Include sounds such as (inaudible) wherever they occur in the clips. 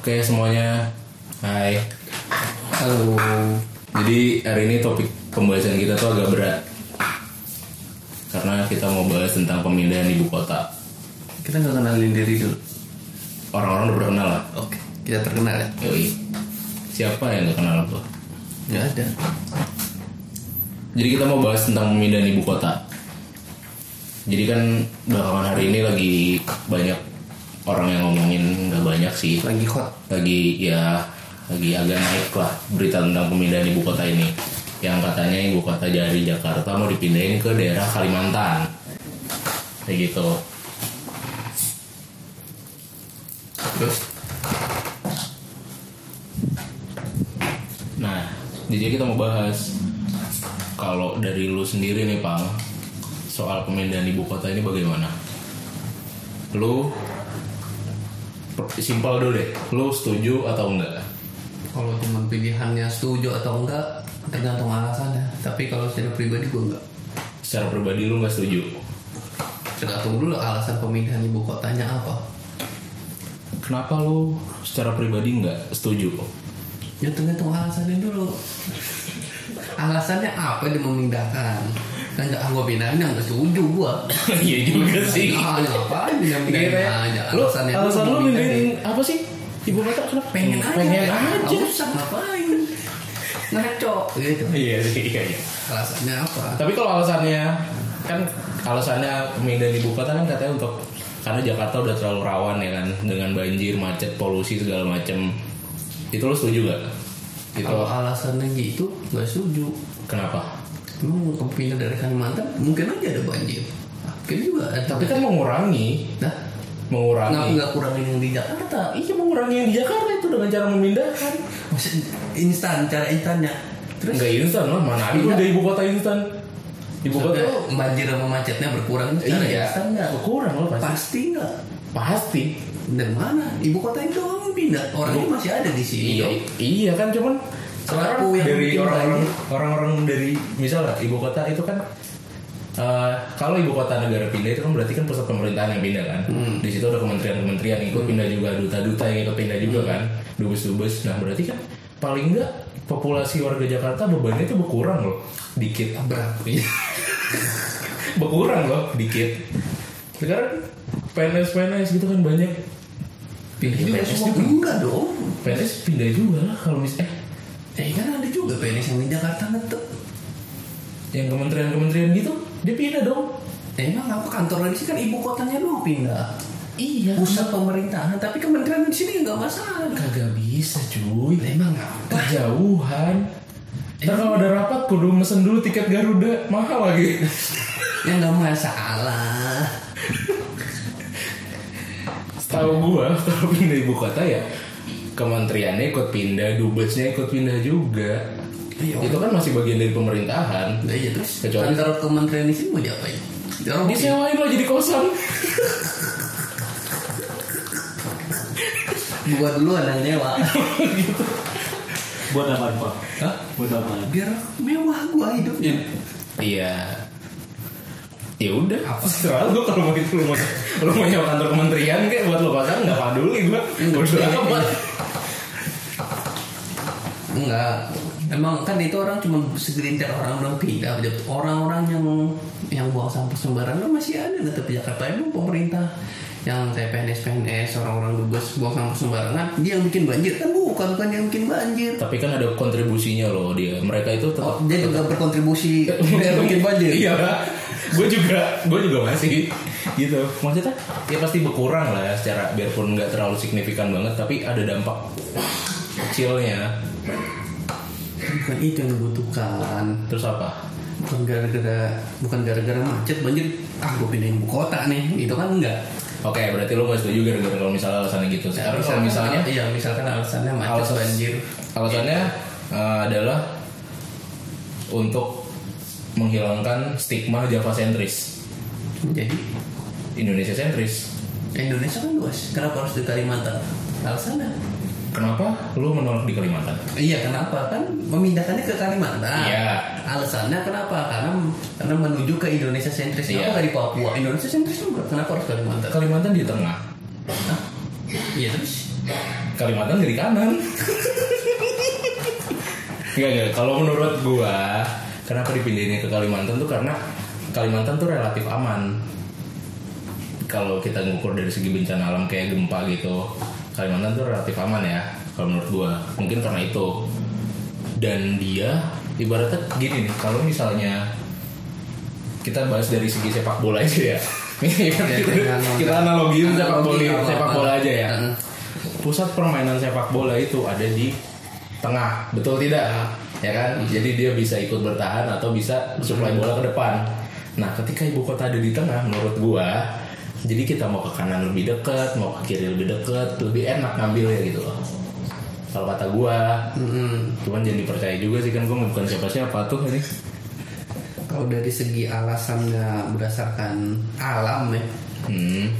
Oke semuanya, hai. Halo. Jadi hari ini topik pembahasan kita tuh agak berat karena kita mau bahas tentang pemindahan ibu kota. Kita nggak kenalin diri dulu. Orang-orang udah pernah kenal lah. Oke. Kita terkenal ya? Yoi. Siapa yang gak kenal tuh? Nggak ada. Jadi kita mau bahas tentang pemindahan ibu kota. Jadi kan belakangan hari ini lagi banyak orang yang ngomongin nggak banyak sih. Lagi hot. lagi ya lagi agak naik lah berita tentang pemindahan ibu kota ini yang katanya ibu kota dari Jakarta mau dipindahin ke daerah Kalimantan kayak gitu Terus nah jadi kita mau bahas kalau dari lu sendiri nih Pang soal pemindahan ibu kota ini bagaimana lu per- simpel dulu deh lu setuju atau enggak kalau cuma pilihannya setuju atau enggak tergantung alasannya. Tapi kalau secara pribadi gue enggak. secara pribadi lu nggak setuju Tergantung dulu alasan pemindahan ibu kotanya apa. kenapa lu secara pribadi nggak setuju Ya tergantung alasannya dulu. alasannya apa dia memindahkan? Kan nggak gue pindahin yang nggak setuju gue. (laughs) Iya juga sih. Iya, Ah, ngapain dia pindahin aja? Lu Alasannya dulu alasan lu mau pindahin. mindahin apa sih? Ibu kota kenapa pengen aja? pengen aja. aja. Gak usah ngapain. Ngaco gitu. Iya sih, iya, iya. Alasannya apa? Tapi kalau alasannya kan alasannya pemindahan ibu kota kan katanya untuk karena Jakarta udah terlalu rawan ya kan dengan banjir, macet, polusi segala macem. Itu lu setuju gak? Itu Ya, Kalau alasannya gitu nggak setuju. kenapa? Lu mau pindah dari Kalimantan mungkin aja ada banjir. Mungkin juga ada Tapi kan mengurangi, nah, kenapa mengurangi. nggak kurangin yang di Jakarta? Iya mengurangi yang di Jakarta itu dengan cara memindahkan. Masih instan cara instannya. Terus Nggak instan lah, mana ada Iya. udah ibu kota instan. Ibu kota Maksudnya banjir sama macetnya berkurang secara Iya, instan nggak? kurang loh pasti. Pasti nggak. Pasti. Dan mana? Ibu kota itu doang pindah. Orangnya masih ada di sini. Iya, iya kan cuman Selaku yang dari bikin orang-orang banyak. orang-orang dari misalnya ibu kota itu kan eh, kalau ibu kota negara pindah itu kan berarti kan pusat pemerintahan yang pindah kan. Di situ ada kementerian-kementerian yang ikut pindah juga, duta-duta yang ikut pindah juga kan, dubes-dubes. Nah berarti kan paling enggak populasi warga Jakarta bebannya itu berkurang loh, dikit. Iya. Berapa? berkurang loh, dikit. Sekarang PNS-PNS gitu kan banyak Iya, Pindah juga PNS semua juga. Iya, enggak dong. PNS pindah juga lah kalau mis eh Eh kan ada juga PNS yang di Jakarta ngetep yang kementerian-kementerian gitu dia pindah dong Eh, Emang apa kantor di sini kan ibu kotanya doang pindah iya Pusat pemerintahan tapi kementerian di sini nggak masalah kagak bisa cuy Lah, Emang apa? kejauhan Ntar kalau ada rapat kudu mesen dulu tiket Garuda mahal lagi Ya nggak masalah setahu gua (laughs) kalau pindah ibu kota ya kementeriannya ikut pindah dubesnya ikut pindah juga Iya. itu kan masih bagian dari pemerintahan Udah iya terus Kecuali- Kantor kementerian di sini mau diapain? Dorong pindah. disewain lah jadi kosan Buat dulu ada yang nyewa buat apa pak? Hah? buat apa? Biar mewah gua hidupnya Iya. Ya udah. Apa? Serah lu kalau mau itu lu mau lu mau nyewa kantor kementerian kayak buat lu pasang nggak peduli gua. Udah amat. Enggak Emang kan itu orang cuma segelintir orang doang pindah Orang-orang yang yang buang sampah sembarangan kan masih ada tetap di Jakarta Emang pemerintah yang kayak PNS-PNS orang-orang dubes buang sampah sembarangan Dia yang bikin banjir kan bukan, bukan yang bikin banjir Tapi kan ada kontribusinya loh dia. Mereka itu tetap Oh, dia juga berkontribusi Oh. biar bikin banjir Iya, Pak. Gue juga, gue juga masih gitu. Maksudnya ya pasti berkurang lah secara biarpun nggak terlalu signifikan banget tapi ada dampak kecilnya. Bukan itu yang dibutuhkan Terus apa? Bukan gara-gara bukan gara-gara macet banjir Ah gue pindahin ibu kota nih Itu kan enggak Oke, berarti lu gak setuju gara-gara kalau misalnya alasannya gitu. Sekarang kalau misalnya Iya misalkan alasannya macet Alasan- banjir Alasannya eh, adalah untuk menghilangkan stigma Java sentris, Jadi Indonesia sentris. Indonesia kan luas, kenapa harus di Kalimantan? Alasannya? Kenapa lu menolak di Kalimantan? Iya, kenapa kan memindahkannya ke Kalimantan? Iya. Alasannya kenapa? Karena karena menuju ke Indonesia sentris. Iya. Kenapa nggak di Papua? Indonesia sentris juga. Kenapa harus Kalimantan? Kalimantan di tengah. Hah? Iya terus? Kalimantan jadi kanan. Enggak, enggak. Kalau menurut gua, kenapa dipindahinnya ke Kalimantan tuh karena Kalimantan tuh relatif aman. Kalau kita ngukur dari segi bencana alam kayak gempa gitu, Kalimantan tuh relatif aman ya. Kalau menurut gua, mungkin karena itu. Dan dia ibaratnya gini nih, kalau misalnya kita bahas dari segi sepak bola aja ya. kita, (laughs) kita analogiin sepak bola, sepak bola aja ya. Pusat permainan sepak bola itu ada di tengah, betul tidak? Ya kan? Jadi dia bisa ikut bertahan atau bisa supply bola ke depan. Nah, ketika ibu kota ada di tengah, menurut gua, jadi kita mau ke kanan lebih dekat, mau ke kiri lebih dekat, lebih enak ngambilnya gitu loh. Kalau kata gua, cuman jadi percaya juga sih kan gua bukan siapa-siapa tuh ini. Kalau dari segi alasan nggak berdasarkan alam ya, Hmm.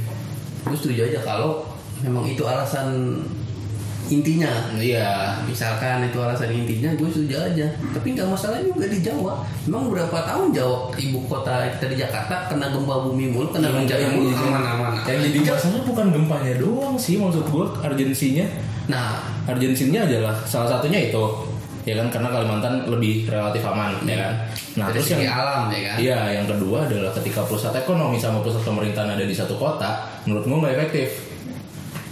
gue setuju aja kalau memang itu alasan intinya Iya, misalkan itu alasan intinya gue setuju aja tapi nggak masalah juga di Jawa memang berapa tahun Jawa ibu kota kita di Jakarta kena gempa bumi mulu Yang kena bencana Iya, jadi- mulu aman-aman Yang jadi masalah bukan gempanya doang sih maksud gue urgensinya. nah Urgensinya adalah salah satunya itu. Ya kan karena Kalimantan lebih relatif aman ya kan. Nah, dari terus segi yang alam ya kan Iya, yang kedua adalah ketika pusat ekonomi sama pusat pemerintahan ada di satu kota, menurut gue nggak efektif.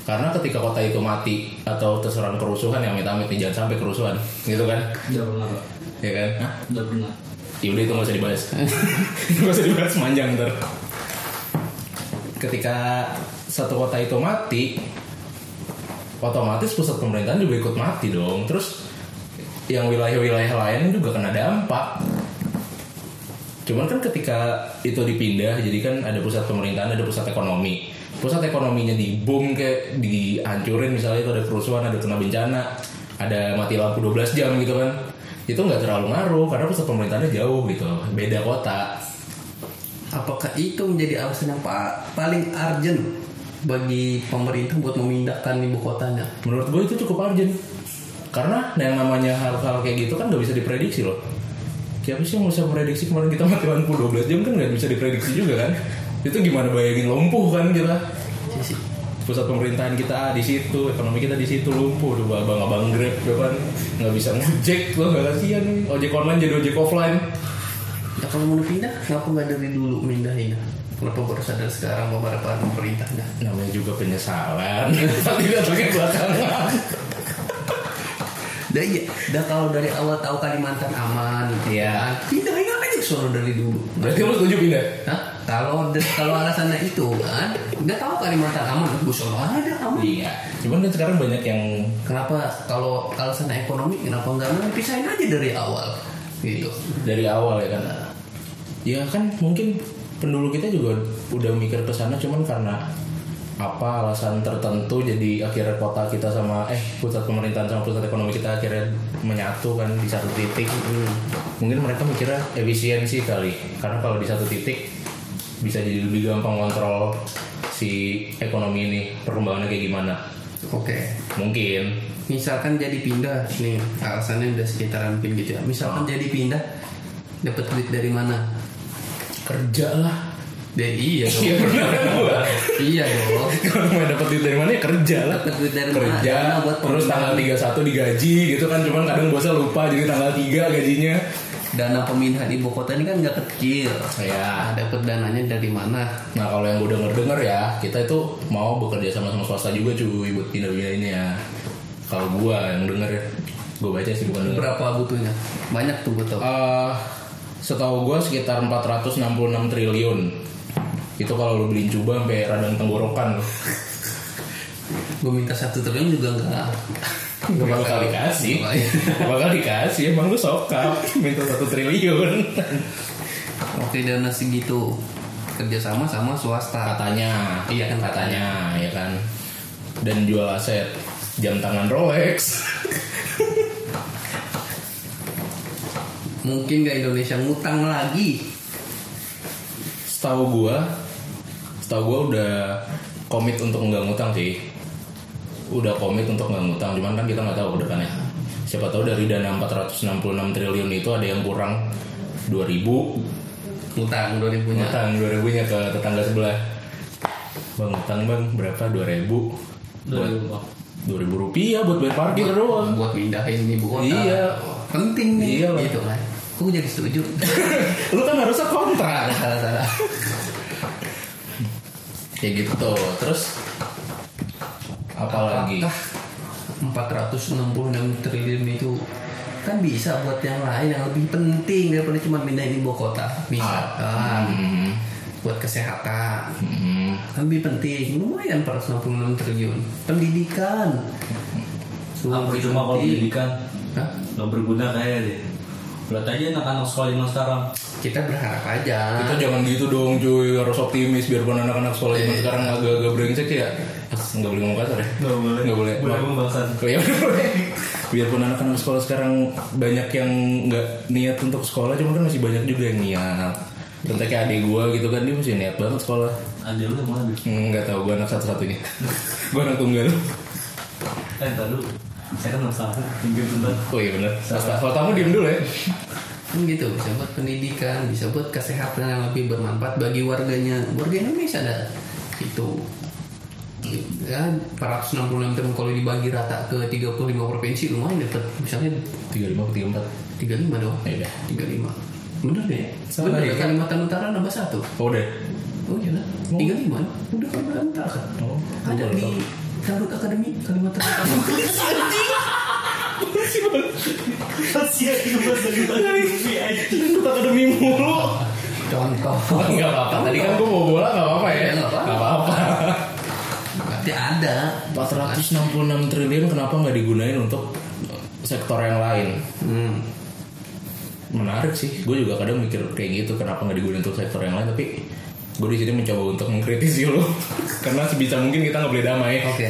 Karena ketika kota itu mati atau terserang kerusuhan yang amit-amit nih, jangan sampai kerusuhan, gitu kan? Udah pernah, Pak. Ya kan? Hah? Udah pernah. Yaudah itu gak usah dibahas (laughs) Itu gak usah dibahas manjang ntar Ketika satu kota itu mati Otomatis pusat pemerintahan juga ikut mati dong Terus yang wilayah-wilayah lain juga kena dampak Cuman kan ketika itu dipindah Jadi kan ada pusat pemerintahan, ada pusat ekonomi Pusat ekonominya dibom kayak dihancurin Misalnya itu ada kerusuhan, ada kena bencana Ada mati lampu 12 jam gitu kan Itu nggak terlalu ngaruh Karena pusat pemerintahannya jauh gitu Beda kota apakah itu menjadi alasan yang pa- paling urgent bagi pemerintah buat memindahkan ibu kotanya Menurut gue itu cukup urgent Karena yang namanya hal-hal kayak gitu kan nggak bisa diprediksi loh Siapa sih yang bisa prediksi kemarin kita mati lampu 12 jam kan nggak bisa diprediksi juga kan Itu gimana bayangin lumpuh kan kita Iya sih. pusat pemerintahan kita ah, di situ ekonomi kita di situ lumpuh udah abang abang grab udah kan nggak bisa ngojek lo nggak kasihan nih. ojek online jadi ojek offline ya kalau mau pindah kenapa nggak dari dulu mindahin kenapa baru sadar sekarang beberapa pemerintahnya namanya juga penyesalan (laughs) tapi nggak pakai belakangan Dah iya, dah kalau dari awal tahu Kalimantan aman, gitu Iya. kan. Pindahin aja sono dari dulu. berarti lo setuju pindah Hah? Kalau de- kalau alasannya itu kan, udah tahu Kalimantan aman, gue sono ada aman. iya cuman kan sekarang banyak yang Kenapa kalau alasannya ekonomi, kenapa nggak mau pisahin aja dari awal? Gitu. dari awal ya kan ya kan mungkin pendulu kita juga udah mikir ke sana cuman karena apa alasan tertentu jadi akhirnya kota kita sama eh pusat pemerintahan sama pusat ekonomi kita akhirnya menyatu kan di satu titik mungkin mereka mikirnya efisiensi kali karena kalau di satu titik bisa jadi lebih gampang kontrol si ekonomi ini perkembangannya kayak gimana Oke. mungkin Misalkan jadi pindah nih, alasannya udah sekitaran mungkin gitu ya. Misalkan jadi pindah, dapat duit dari mana? kerja lah Dari iya dong. iya benar kan gua? (laughs) iya dong. (laughs) kalau mau dapat duit dari mana ya kerja lah Dapat duit dari mana? kerja Karena buat terus tanggal 31 digaji gitu kan cuman kadang bosnya lupa jadi tanggal 3 gajinya dana pemindahan ibu kota ini kan nggak kecil. ya Nah, dapat dananya dari mana? nah kalau yang udah denger ya kita itu mau bekerja sama sama swasta juga cuy buat pindah pindahinnya kalau gua yang denger ya gua baca sih bukan denger Berapa butuhnya? Banyak tuh betul. Eh, setahu gua sekitar 466 triliun itu kalau lu beliin cuba sampai radang tenggorokan Gue minta satu triliun juga nggak. Gak bakal dikasih Gak bakal dikasih Emang lu sokap Minta satu triliun Oke dana segitu kerjasama sama swasta. katanya iya kan, katanya ya kan dan jual aset jam tangan Rolex Mungkin nggak Indonesia ngutang lagi. setahu gua setahu gua udah komit untuk nggak ngutang sih udah komit untuk nggak ngutang cuman kan kita nggak tahu ke depannya siapa tahu dari dana 466 triliun itu ada yang kurang 2000 Ngutang 2000 nya. ngutang 2000 nya ke tetangga sebelah bang ngutang bang berapa 2000 Udah buat lupa. dua ribu rupiah buat bayar parkir doang buat pindahin ibu kota Iya. penting nih Iya lah. gitu kan kok jadi (laughs) setuju (laughs) lu kan harusnya kontrak salah salah salah kayak gitu terus apalagi Apakah 466 triliun itu kan bisa buat yang lain yang lebih penting daripada cuma pindahin ibu kota Ah, misalkan Hmm, buat kesehatan hmm. kan lebih penting lumayan 466 triliun pendidikan Semua Apa cuma kalau penting. pendidikan Hah? nggak berguna kayak deh. Lihat aja anak-anak sekolah zaman sekarang. kita berharap aja Kita jangan gitu dong cuy Harus optimis Biarpun anak-anak sekolah zaman sekarang agak-agak brengsek ya Nggak boleh ngomong kasar ya Nggak boleh. Iya. Nggak boleh. Boleh pembahasan. Oh, iya, boleh. (laughs) Biarpun anak-anak sekolah sekarang Banyak yang nggak niat untuk sekolah Cuma kan masih banyak juga yang niat Contohnya kayak adik gue gitu kan Dia masih niat banget sekolah Ada lu mau ambil. Hmm, Nggak tahu gue anak satu-satunya (laughs) Gue anak tunggal Eh, entar dulu. Saya kan masalah pinggir bentar. Oh iya bener Kalau tamu diem dulu ya kan gitu bisa buat pendidikan bisa buat kesehatan yang lebih bermanfaat bagi warganya warga Indonesia dah itu ya 466 triliun kalau dibagi rata ke 35 provinsi lumayan dapat misalnya 35 ke 34 35 doang Ya udah 35 bener deh Sama bener ya, ya kan? Kalimantan Utara nambah satu Oh udah (laughs) oh iya lah 35 udah Kalimantan Utara kan Oh, ada baru tahu. di Garut Akademi (laughs) Kalimantan Utara Kasihan itu pas dari tadi Itu akademi mulu contoh Enggak apa-apa. Tadi kan gue mau bola enggak apa-apa ya. Ya, nggak apa-apa. Nggak apa-apa. (laughs) berarti ada 466 triliun kenapa nggak digunain untuk sektor yang lain? hmm. Menarik sih. Gue juga kadang mikir kayak gitu kenapa nggak digunain untuk sektor yang lain tapi gue di sini mencoba untuk mengkritisi lo (laughs) karena sebisa mungkin kita nggak boleh damai. oke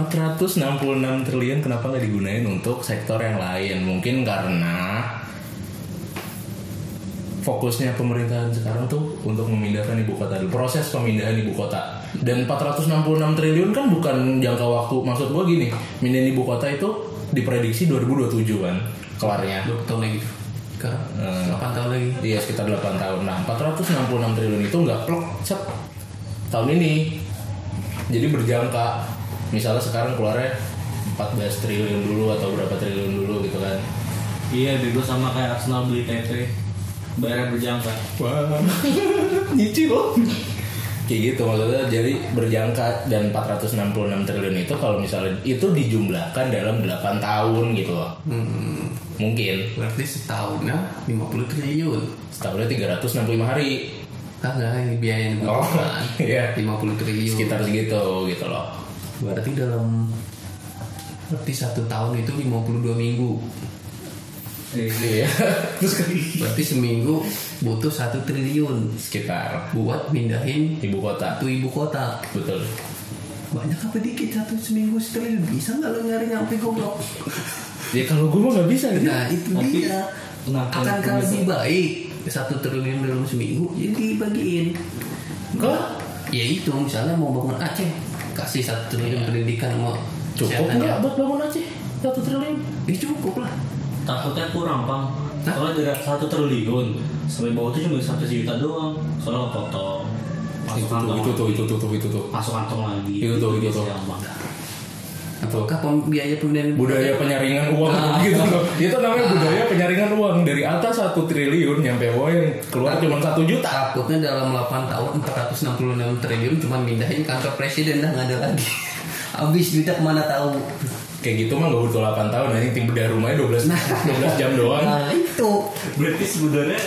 466 triliun kenapa nggak digunain untuk sektor yang lain? Mungkin karena fokusnya pemerintahan sekarang tuh untuk memindahkan ibu kota dulu. Proses pemindahan ibu kota. Dan 466 triliun kan bukan jangka waktu. Maksud gue gini, pindahin ibu kota itu diprediksi 2027 kan kelarnya. dua tahun lagi ke delapan tahun lagi Iya sekitar 8 tahun. Nah 466 triliun itu nggak plok set tahun ini. Jadi berjangka. Misalnya sekarang keluarnya 14 triliun dulu atau berapa triliun dulu gitu kan. Iya, bego sama kayak Arsenal beli TT. Bayarnya berjangka. Wah, (laughs) nyicil loh. Kayak gitu maksudnya jadi berjangka dan 466 triliun itu kalau misalnya itu dijumlahkan dalam 8 tahun gitu loh. hmm, Mungkin berarti setahunnya 50 triliun setahunnya 365 hari. kagak ini biaya yang Oh, dibutuhkan iya. 50 triliun Sekitar segitu gitu loh. berarti dalam berarti satu tahun itu 52 minggu Eh, Iya. (laughs) Terus berarti seminggu butuh satu triliun sekitar buat pindahin ibu kota satu ibu kota betul banyak apa dikit satu seminggu setriliun bisa nggak lo nyari nyampe goblok ya kalau gue mah nggak bisa ya. nah itu Tapi, dia kenapa akan itu bisa? lebih baik satu triliun dalam seminggu jadi dibagiin Kok? ya itu misalnya mau bangun Aceh kasih satu triliun pendidikan mau cukup kesehatan nggak ya. buat bangun Aceh satu triliun ya cukup lah Takutnya kurang, Pang. Soalnya dari satu triliun sampai bawah itu cuma satu juta doang. Soalnya kepotong. Masuk itu tuh kantong. itu tuh itu tuh itu tuh, itu tuh Masuk kantong lagi. Itu tuh, itu tuh. Gampang. apakah pem- biaya pembelian budaya penyaringan Ah. uang (laughs) gitu loh itu namanya budaya penyaringan uang dari atas satu triliun nyampe bawah yang keluar cuma satu juta takutnya dalam 8 tahun 466 triliun cuma mindahin kantor presiden dah nggak ada lagi (laughs) habis duitnya kemana tahu kayak gitu mah nggak butuh 8 tahun nanti tim bedah ya rumahnya 12 12 jam (laughs) doang nah itu Berarti sebenarnya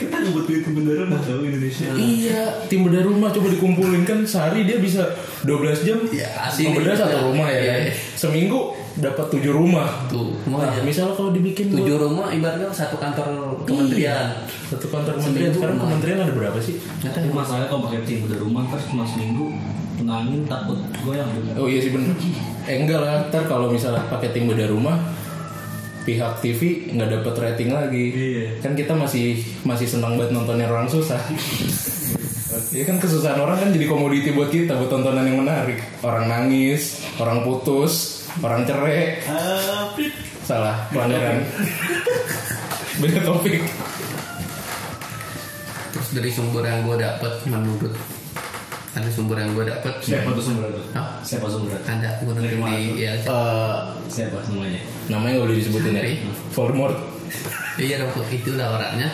kita ngebut duit sebenarnya mah tahu Indonesia. Iya, tim bedah rumah coba dikumpulin kan sehari dia bisa 12 jam. Iya, asli. Bedah satu rumah ya. Iya. kan? Seminggu dapat 7 rumah. tuh mau Nah, misal kalau dibikin buat- tujuh rumah ibaratnya satu kantor kementerian Satu kantor kementerian Seminggu sekarang lumayan. kementerian ada berapa sih? Tapi Eh, masalahnya kalau pakai tim udah rumah terus cuma seminggu tenangin takut goyang juga. Oh iya sih bener. Eh enggak lah, ntar kalau misalnya pakai tim bedah rumah pihak TV nggak dapat rating lagi. Iya. Kan kita masih masih senang banget nontonin orang susah. Iya kan kesusahan orang kan jadi komoditi buat kita buat tontonan yang menarik. Orang nangis, orang putus, orang cerai. Tapi Salah, (laughs) pelanggaran. Beda topik. Terus dari sumber yang gue dapat menurut ada sumber yang gue dapat Iya. Siapa tuh sumber itu? Hah? Siapa sumber itu? ada gue Dari dengerin mana di tuh? ya Eh, Siapa semuanya? namanya nggak boleh disebutin ya. Sorry. Voldemort. Iya dong, itulah orangnya.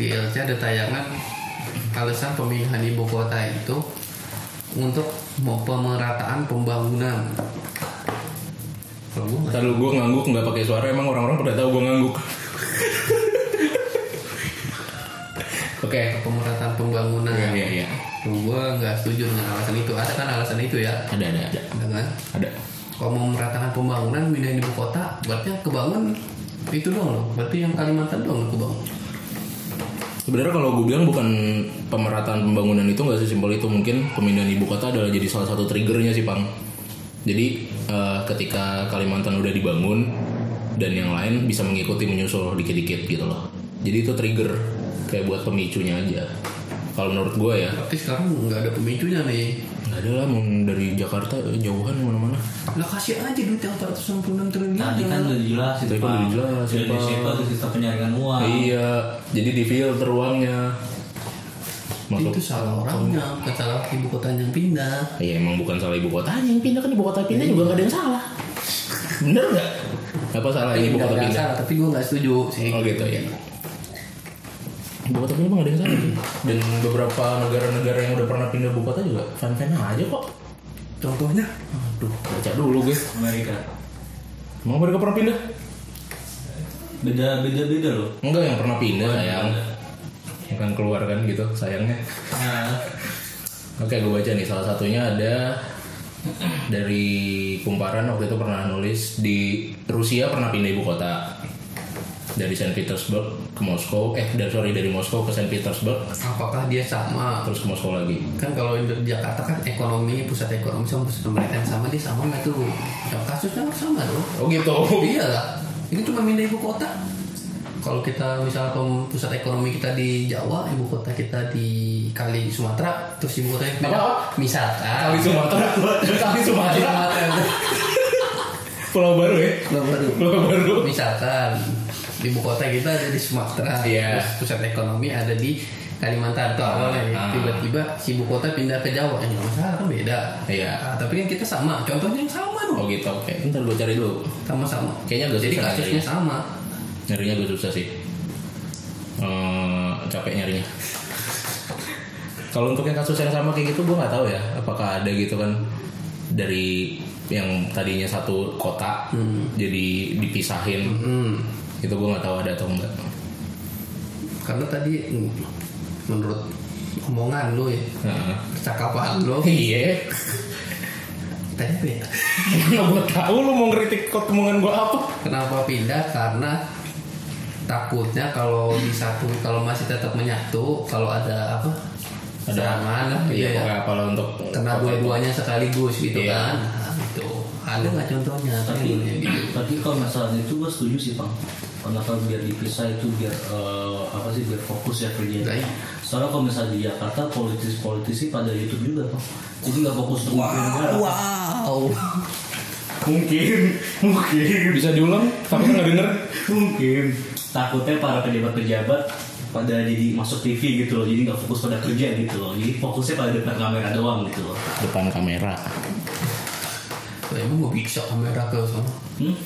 Di LC ada tayangan alasan pemilihan ibu kota itu untuk mau pemerataan pembangunan. Kalau gua nggak- Kalau gue ngangguk nggak pakai suara emang orang-orang pada tahu gue ngangguk. Oke. pemerataan pembangunan. Iya iya iya. Kalau gua nggak setuju dengan alasan itu. Ada kan alasan itu ya? Ada ada ada. Ada kan? Ada. Kalau mau meratakan pembangunan pindahin ibu kota, berarti yang kebangun itu dong loh. Berarti yang Kalimantan dong yang kebangun. Sebenarnya kalau gue bilang bukan pemerataan pembangunan itu nggak sesimpel itu mungkin pemindahan ibu kota adalah jadi salah satu triggernya sih pang. Jadi eh, ketika Kalimantan udah dibangun dan yang lain bisa mengikuti menyusul dikit-dikit gitu loh. Jadi itu trigger kayak buat pemicunya aja. Kalau menurut gue ya Tapi sekarang nggak ada pemicunya nih. nggak ada lah mau dari Jakarta eh, jauhan mana-mana. Lah kasih aja duit yang 466 triliun. Nah, Tadi kan udah jelas itu Tadi kan udah jelas, Jadi Pak. siapa tuh sistem penyaringan uang? Iya, jadi di filter uangnya. Masuk. itu salah orangnya bukan salah ibu kotanya yang pindah Ya emang bukan salah ibu kotanya yang pindah kan ibu kota pindah juga gak ada yang salah. Bener nggak? Apa salah ibu Nggak kota ada pindah? salah tapi gue nggak setuju sih Oh gitu ya. Ibu kota pindah emang nggak ada yang salah gitu. sih. Dan beberapa negara-negara yang udah pernah pindah ibu kota juga fan-fan aja kok. contohnya Aduh, baca dulu gue. Amerika. Emang mereka pernah pindah? Beda beda beda loh. Enggak yang pernah pindah sayang. Yang kan keluar kan gitu sayangnya. Nah, Oke, gue baca nih salah satunya ada dari Kumparan waktu itu pernah nulis di Rusia pernah pindah ibu kota dari Saint Petersburg ke Moskow eh dari sorry dari Moskow ke Saint Petersburg apakah dia sama terus ke Moskow lagi kan kalau di Jakarta kan ekonomi pusat ekonomi sama pusat pemerintahan sama dia sama nggak tuh ya, kasusnya sama loh oh gitu iya lah ini cuma pindah ibu kota kalau kita misalnya pem- pusat ekonomi kita di Jawa, ibu kota kita di kali Sumatera, terus ibu kota Apa? misalkan kali Sumatera kali Sumatera Pulau Baru ya Pulau Baru. Pulau Baru misalkan ibu kota kita ada di Sumatera Iya. terus pusat ekonomi ada di Kalimantan itu awalnya ya. Ah. tiba-tiba si ibu kota pindah ke Jawa yang masalah kan beda Iya. Ah, tapi kan kita sama contohnya yang sama dong oh gitu oke ntar gue cari dulu sama-sama Kayaknya agak jadi susah kasusnya sama nyarinya gue susah sih Eh, capek nyarinya kalau untuk yang kasus yang sama kayak gitu gue nggak tahu ya apakah ada gitu kan dari yang tadinya satu kota jadi dipisahin hmm. itu gue nggak tahu ada atau enggak karena tadi hmm, menurut omongan lo ya Heeh. percakapan lo iya (laughs) tadi apa ya? nggak gue tahu lu mau ngeritik omongan gue apa Kenapa pindah? Karena takutnya kalau disatu kalau masih tetap menyatu kalau ada apa Ada. serangan lah gitu iya ya. pokoknya apalah untuk kena (laughs) dua-duanya sekaligus gitu Iya. kan Nah, gitu ada nggak contohnya tapi Kayak gitu. tapi kalau masalah itu gue setuju sih bang kenapa biar dipisah itu biar eh, apa sih biar fokus ya kerjanya Baik. soalnya kalau misalnya di Jakarta politis politisi pada YouTube juga bang jadi nggak fokus untuk wow, wow mungkin mungkin bisa diulang tapi kan nggak denger mungkin takutnya para pejabat-pejabat pada jadi masuk TV gitu loh jadi nggak fokus pada kerja gitu loh jadi fokusnya pada depan kamera doang gitu loh depan kamera Wah, emang gak bisa kamera ke sana hmm?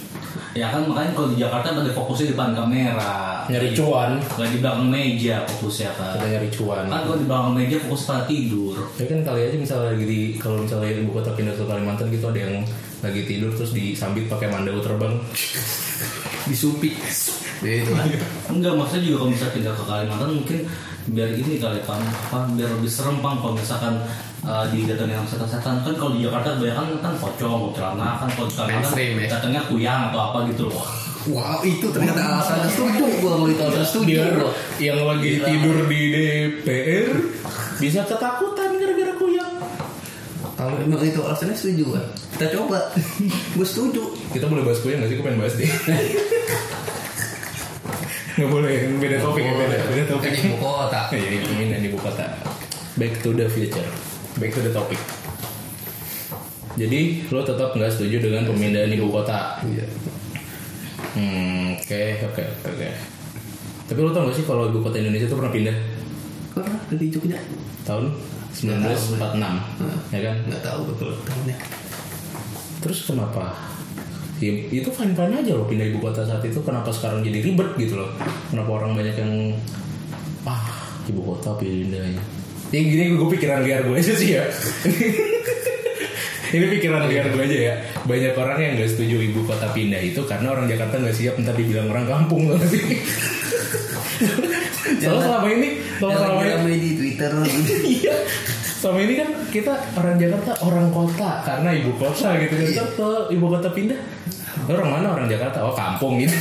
ya kan makanya kalau di Jakarta pada fokusnya depan kamera nyari cuan nggak di belakang meja fokusnya kan kita nyari cuan kan kalau di belakang meja fokus pada tidur Ya kan kali aja misalnya lagi di kalau misalnya ibu kota pindah ke Kalimantan gitu ada yang lagi tidur terus disambit pakai mandau terbang. disupi gitu kan Iya. enggak maksudnya juga kalau misalnya pindah ke Kalimantan mungkin biar ini kali kan apa, biar lebih serem Pang, kalau misalkan uh, di datangnya yang setan-setan kan kalau di Jakarta kebanyakan kan pocong celana kan kalau di Kalimantan Mainstream, ya. datangnya kuyang atau apa gitu loh wow itu ternyata alasannya setuju gua kalau itu alasan setuju bro yang lagi tidur di DPR bisa ketakutan gara-gara kuyang. kalau emang itu alasannya setuju kan kita coba (laughs) gua setuju Kita boleh bahas kuyang gak sih? Gue pengen bahas deh. (laughs) gak boleh, beda topik ya, beda, beda Kan topik. ibu kota Iya, iya, pemindahan ibu kota. Back to the future, back to the topic. Jadi lo tetap nggak setuju dengan pemindahan ibu kota? Iya. Hmm, oke, oke, oke, oke. Tapi lo tau gak sih kalau ibu kota Indonesia itu pernah pindah Pernah dari Jogja tahun 1946 ya kan nggak tahu betul tahunnya terus kenapa Ya, itu fine fine aja loh pindah ibu kota saat itu kenapa sekarang jadi ribet gitu loh kenapa orang banyak yang ah ibu kota pindahnya ya gini gue pikiran liar gue aja sih ya (laughs) ini pikiran liar gue aja ya banyak orang yang gak setuju ibu kota pindah itu karena orang Jakarta nggak siap ntar dibilang orang kampung loh sih soalnya selama ini soalnya Jangan selama ini ramai di Twitter (laughs) Iya. Selama ini kan kita orang Jakarta orang kota karena ibu kota gitu kan. Kita ke ibu kota pindah. Orang mana orang Jakarta? Oh kampung gitu.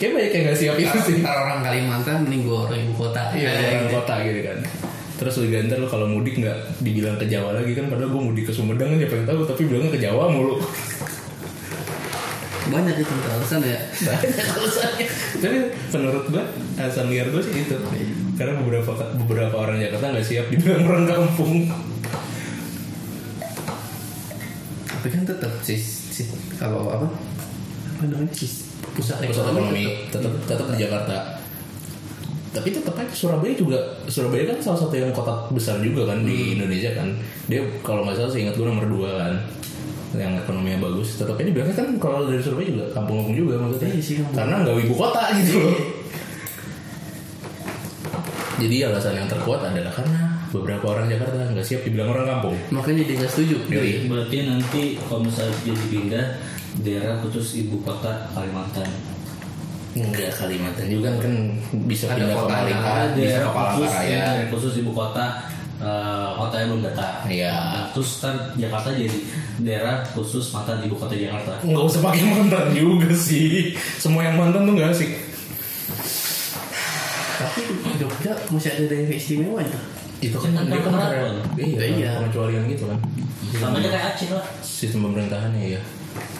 Kayak banyak yang gak siap itu Iya sih. Ntar orang Kalimantan mending gue orang ibu kota Iya Eh, orang kota gitu kan. Terus lu ganti lu kalau mudik nggak dibilang ke Jawa lagi kan padahal gue mudik ke Sumedang kan siapa yang tahu tapi bilangnya ke Jawa mulu. (laughs) banyak itu ntar alasan ya banyak alasannya Tapi menurut gue alasan liar gue sih itu. Karena beberapa beberapa orang Jakarta nggak siap dibilang orang kampung. tapi kan tetap sis, sis kalau apa apa namanya sis pusat pusat ekonomi tetap tetap di Jakarta. Tapi tetap aja Surabaya juga Surabaya kan salah satu yang kota besar juga kan di Indonesia kan. Dia kalau nggak salah seingat gue nomor dua kan yang ekonominya bagus. Tetap aja biasanya kan kalau dari Surabaya juga kampung-kampung juga maksudnya. Iya sih, kampung. Karena nggak ibu kota gitu loh. Jadi alasan yang terkuat adalah karena beberapa orang Jakarta nggak siap dibilang orang kampung. makanya dia nggak setuju Yoi. Berarti nanti kalau misalnya jadi pindah daerah khusus ibu kota Kalimantan. Enggak Kalimantan juga kan bisa Ada pindah ke kota Malika, Ah, bisa daerah ke khusus Palangkaraya. daerah khusus ibu kota eh, kota yang belum data. Iya. Nah, terus kan Jakarta jadi daerah khusus mantan ibu kota Jakarta. nggak usah pakai mantan juga sih semua yang mantan tuh nggak asik tapi Jogja masih ada daerah istimewanya itu kan dia kan kenapa? ada iya, Iya. pengecualian gitu kan Sama aja kayak Aceh lah. sistem pemerintahannya ya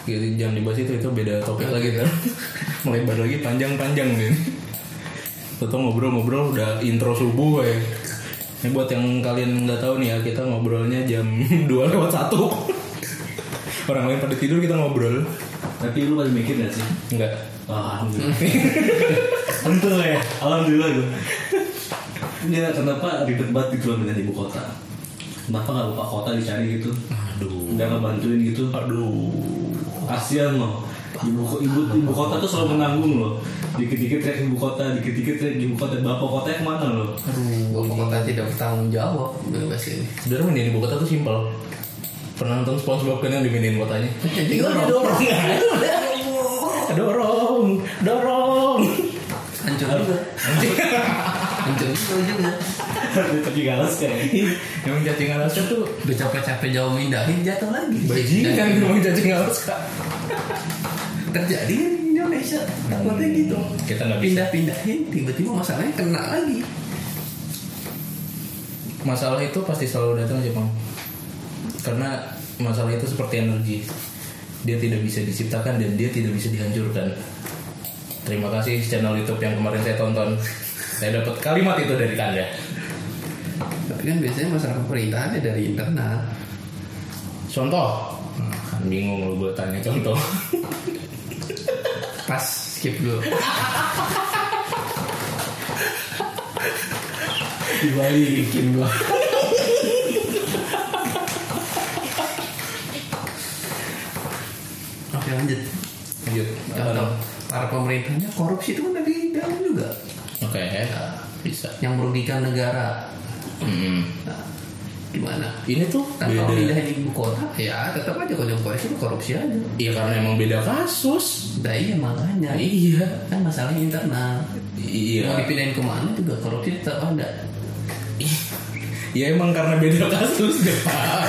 jadi jangan dibahas itu itu beda topik lagi kan (laughs) melebar lagi panjang-panjang nih Toto ngobrol-ngobrol udah intro subuh ya ini buat yang kalian nggak tahu nih ya kita ngobrolnya jam (laughs) 2 lewat satu orang lain pada tidur kita ngobrol Tapi lu pada mikir gak sih? enggak Ah, Alhamdulillah. Untung lah ya. Alhamdulillah gue. Ya, kenapa ribet banget gitu loh dengan ibu kota? Kenapa gak buka kota dicari gitu? aduh Gak ngebantuin gitu? Aduh. Kasian loh. Ibu, ibu, ibu kota tuh selalu menanggung loh. Dikit-dikit teriak ibu kota, dikit-dikit teriak ibu kota. Bapak kotanya kemana loh? (laughs) Aduh, kota tidak bertanggung jawab bebas ini. Sebenarnya mindahin ibu kota tuh simpel. Pernah nonton SpongeBob kan yang dimindahin kotanya? Tinggal didorong. dorong, dorong. Hancur juga. Hancur juga ujungnya. Tapi galas kayak. Emang cacing Alaska tuh Udah capek-capek jauh mindahin jatuh lagi. bajingan Dan emang cacing Alaska. Terjadi kan di Indonesia. Takutnya gitu. Kita nggak bisa. Pindah-pindahin tiba-tiba masalahnya kena lagi. Masalah itu pasti selalu datang Jepang. Karena masalah itu seperti energi. Dia tidak bisa diciptakan dan dia tidak bisa dihancurkan. Terima kasih channel YouTube yang kemarin saya tonton. Saya dapat kalimat itu dari Kanda. Tapi kan biasanya masalah pemerintahannya dari internal. Contoh. Hmm, Kan bingung lu gue tanya contoh. Pas skip dulu. Dibalikin gua. Oke lanjut. Lanjut. Apa Contoh, dong? para pemerintahnya korupsi itu kan dari dalam juga. Oke, bisa. Yang merugikan negara. Mm-mm. Nah, gimana? Ini tuh Nah, kalau pindahin ibu kota, ya tetap aja kalau yang korupsi itu korupsi aja. Iya karena emang beda kasus. Nah iya makanya. Iya. Kan masalahnya internal. Mau Iya. dipindahin kemana juga korupsi tetap ada. Ya emang karena beda kasus deh Pak.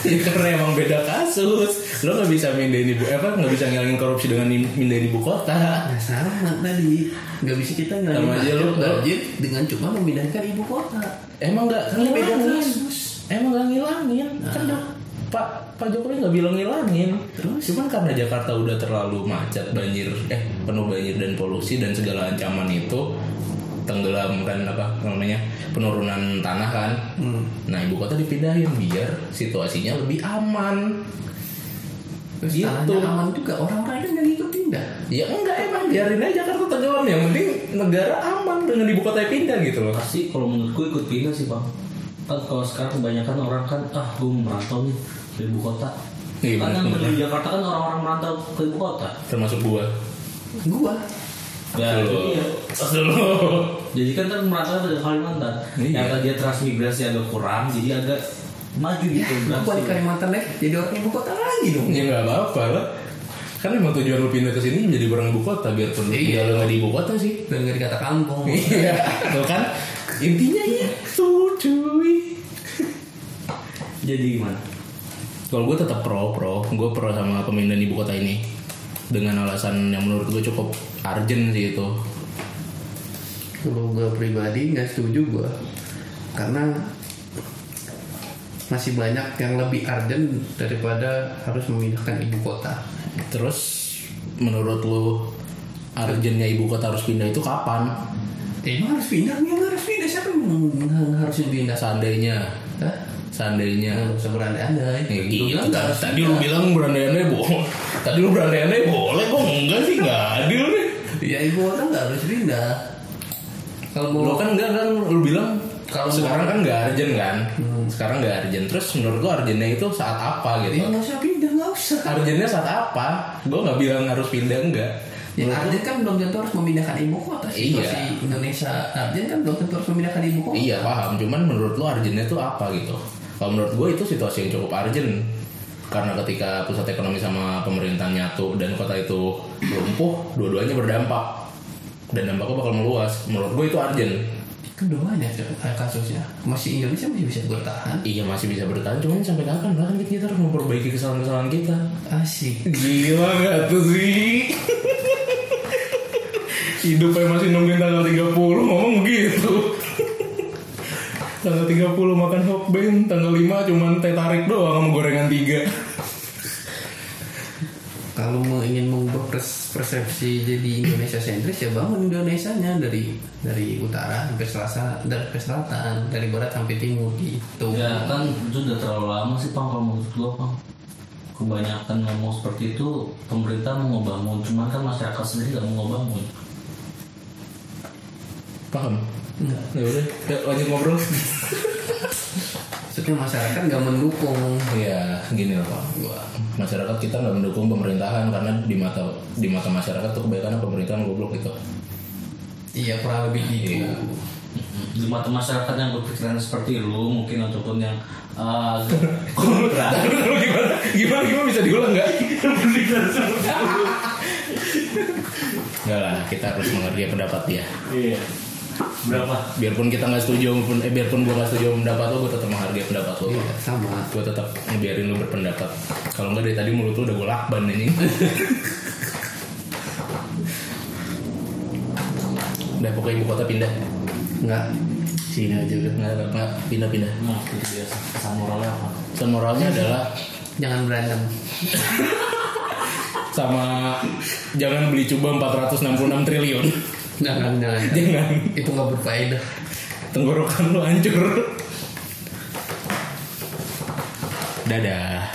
(laughs) ya karena emang beda kasus. Lo nggak bisa mindahin ibu, eh, apa nggak bisa ngilangin korupsi dengan im- mindahin ibu kota. Nah sama tadi. Nggak bisa kita ngelakuin Sama aja lu, lu. dengan cuma memindahkan ibu kota. Emang nggak karena beda Ngilangin. Nah. kasus. Emang nggak ngilangin. Kan Jok- Pak Pak Jokowi nggak bilang ngilangin. Terus? Cuman karena Jakarta udah terlalu macet, banjir, eh penuh banjir dan polusi dan segala ancaman itu tenggelam kan apa namanya penurunan tanah kan. Hmm. Nah ibu kota dipindahin biar situasinya lebih aman. Terus Gitu. tanahnya aman juga. Orang-orang kan nggak ikut pindah. kan Ya enggak emang biarin aja Jakarta tenggelam yang penting negara aman dengan ibu kota pindah gitu loh pasti kalau menurutku ikut pindah sih bang kan kalau sekarang kebanyakan orang kan ah gue mau merantau nih ke ibu kota Iya, kan benar, yang benar. di Jakarta kan orang-orang merantau ke ibu kota termasuk gua Gua. ya iya. pas dulu jadi kan kan merantau ke Kalimantan Iya. yang tadi transmigrasi agak kurang jadi agak maju Ya, gitu gua di Kalimantan deh. Jadi orang ibu kota lagi dong. (laughs) ya nggak apa-apa lah kan emang tujuan lu pindah ke sini menjadi orang ibu kota biarpun Iya. iya. lu nggak di ibu kota sih Dan nggak dikata kampung. iya tuh kan intinya ya, itu cuy jadi gimana Kalau gue tetap pro pro, gue pro sama pemindahan ibu kota ini dengan alasan yang menurut gue cukup urgent sih itu. Kalau gue pribadi nggak setuju gue karena masih banyak yang lebih urgent daripada harus memindahkan ibu kota. Terus menurut lu urgentnya ibu kota harus pindah itu kapan? Eh, emang harus pindah, emang harus pindah siapa yang meng- harusin pindah? Seandainya, Hah? seandainya. Nggak usah berandai-andai. Gitu Ya, gila, kan? Lu bilang Eh, iya, nggak tadi, harus tadi lu pindah. bilang berandai-andai bohong. (laughs) Tadi lu berandai-andai boleh, kok enggak sih nggak adil nih. Ya ibu kota nggak harus pindah. Kalau mau Lo kan enggak kan lu bilang Kalau kalau sekarang kan nggak urgent kan? Sekarang nggak urgent. Terus menurut gue urgentnya itu saat apa gitu? ya nggak usah pindah nggak usah. Urgentnya saat apa? Gue nggak bilang harus pindah enggak. Ya, urgent kan belum tentu harus memindahkan ibu kota. sih. Iya. Masih Indonesia urgent kan belum tentu harus memindahkan ibu kota. Iya paham. Cuman menurut lo urgentnya itu apa gitu? Kalau menurut gue itu situasi yang cukup urgent karena ketika pusat ekonomi sama pemerintahan nyatu dan kota itu lumpuh, dua-duanya berdampak dan dampaknya bakal meluas. menurut gue itu urgent. Keduanya kayak kasusnya masih Indonesia masih bisa bertahan. Iya masih bisa bertahan, cuman sampai kapan lah kan kita harus memperbaiki kesalahan-kesalahan kita. Asik. Gila gak tuh sih? Hidupnya masih nungguin tanggal 30 ngomong begitu. tanggal 30 makan hot band, tanggal 5 cuman teh tarik doang sama gorengan 3. Kalau mau ingin mengubah pers- persepsi jadi Indonesia sentris ya bangun Indonesianya dari dari utara sampai selatan, dari ke selatan, dari barat sampai timur gitu. Iya. Ya kan itu udah terlalu lama sih Pang kalau menurut gua Pang Kebanyakan ngomong seperti itu pemerintah mau ngebangun Cuman kan masyarakat sendiri gak mau ngebangun Paham? Enggak. Ya udah, yuk lanjut ngobrol. Maksudnya masyarakat nggak mendukung. (laughs) Iya, gini loh Pak. Gua- Masyarakat kita nggak mendukung pemerintahan karena di mata di mata masyarakat tuh kebaikan pemerintahan goblok gitu. Iya kurang lebih gitu. Iya. Di mata masyarakat yang berpikiran seperti lu mungkin ataupun yang uh, (laughs) kontra gimana? Gimana gimana bisa diulang nggak? Enggak lah, kita harus menghargai pendapat dia. Iya Berapa? Biarpun kita nggak setuju, pun eh, biarpun gua nggak setuju sama pendapat lo, gua tetap menghargai pendapat lo. Iya, sama. Gua tetap ngebiarin lo berpendapat. Kalau nggak dari tadi mulut lo udah gue lakban ini. udah pokoknya ibu kota pindah. Nggak. Sini aja udah. Nggak nggak, nggak pindah pindah. Nah itu biasa pesan moralnya apa? Pesan moralnya adalah Jangan berantem. sama jangan beli cuba 466 triliun. Jangan jangan. Jangan. Itu nggak berfaedah. tenggorokan lu hancur. Dadah.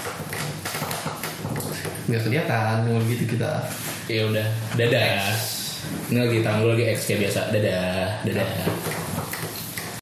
Nggak kelihatan kalau gitu kita. Ya udah, dadah. Ini lagi tanggul lagi X kayak biasa. Dadah, dadah.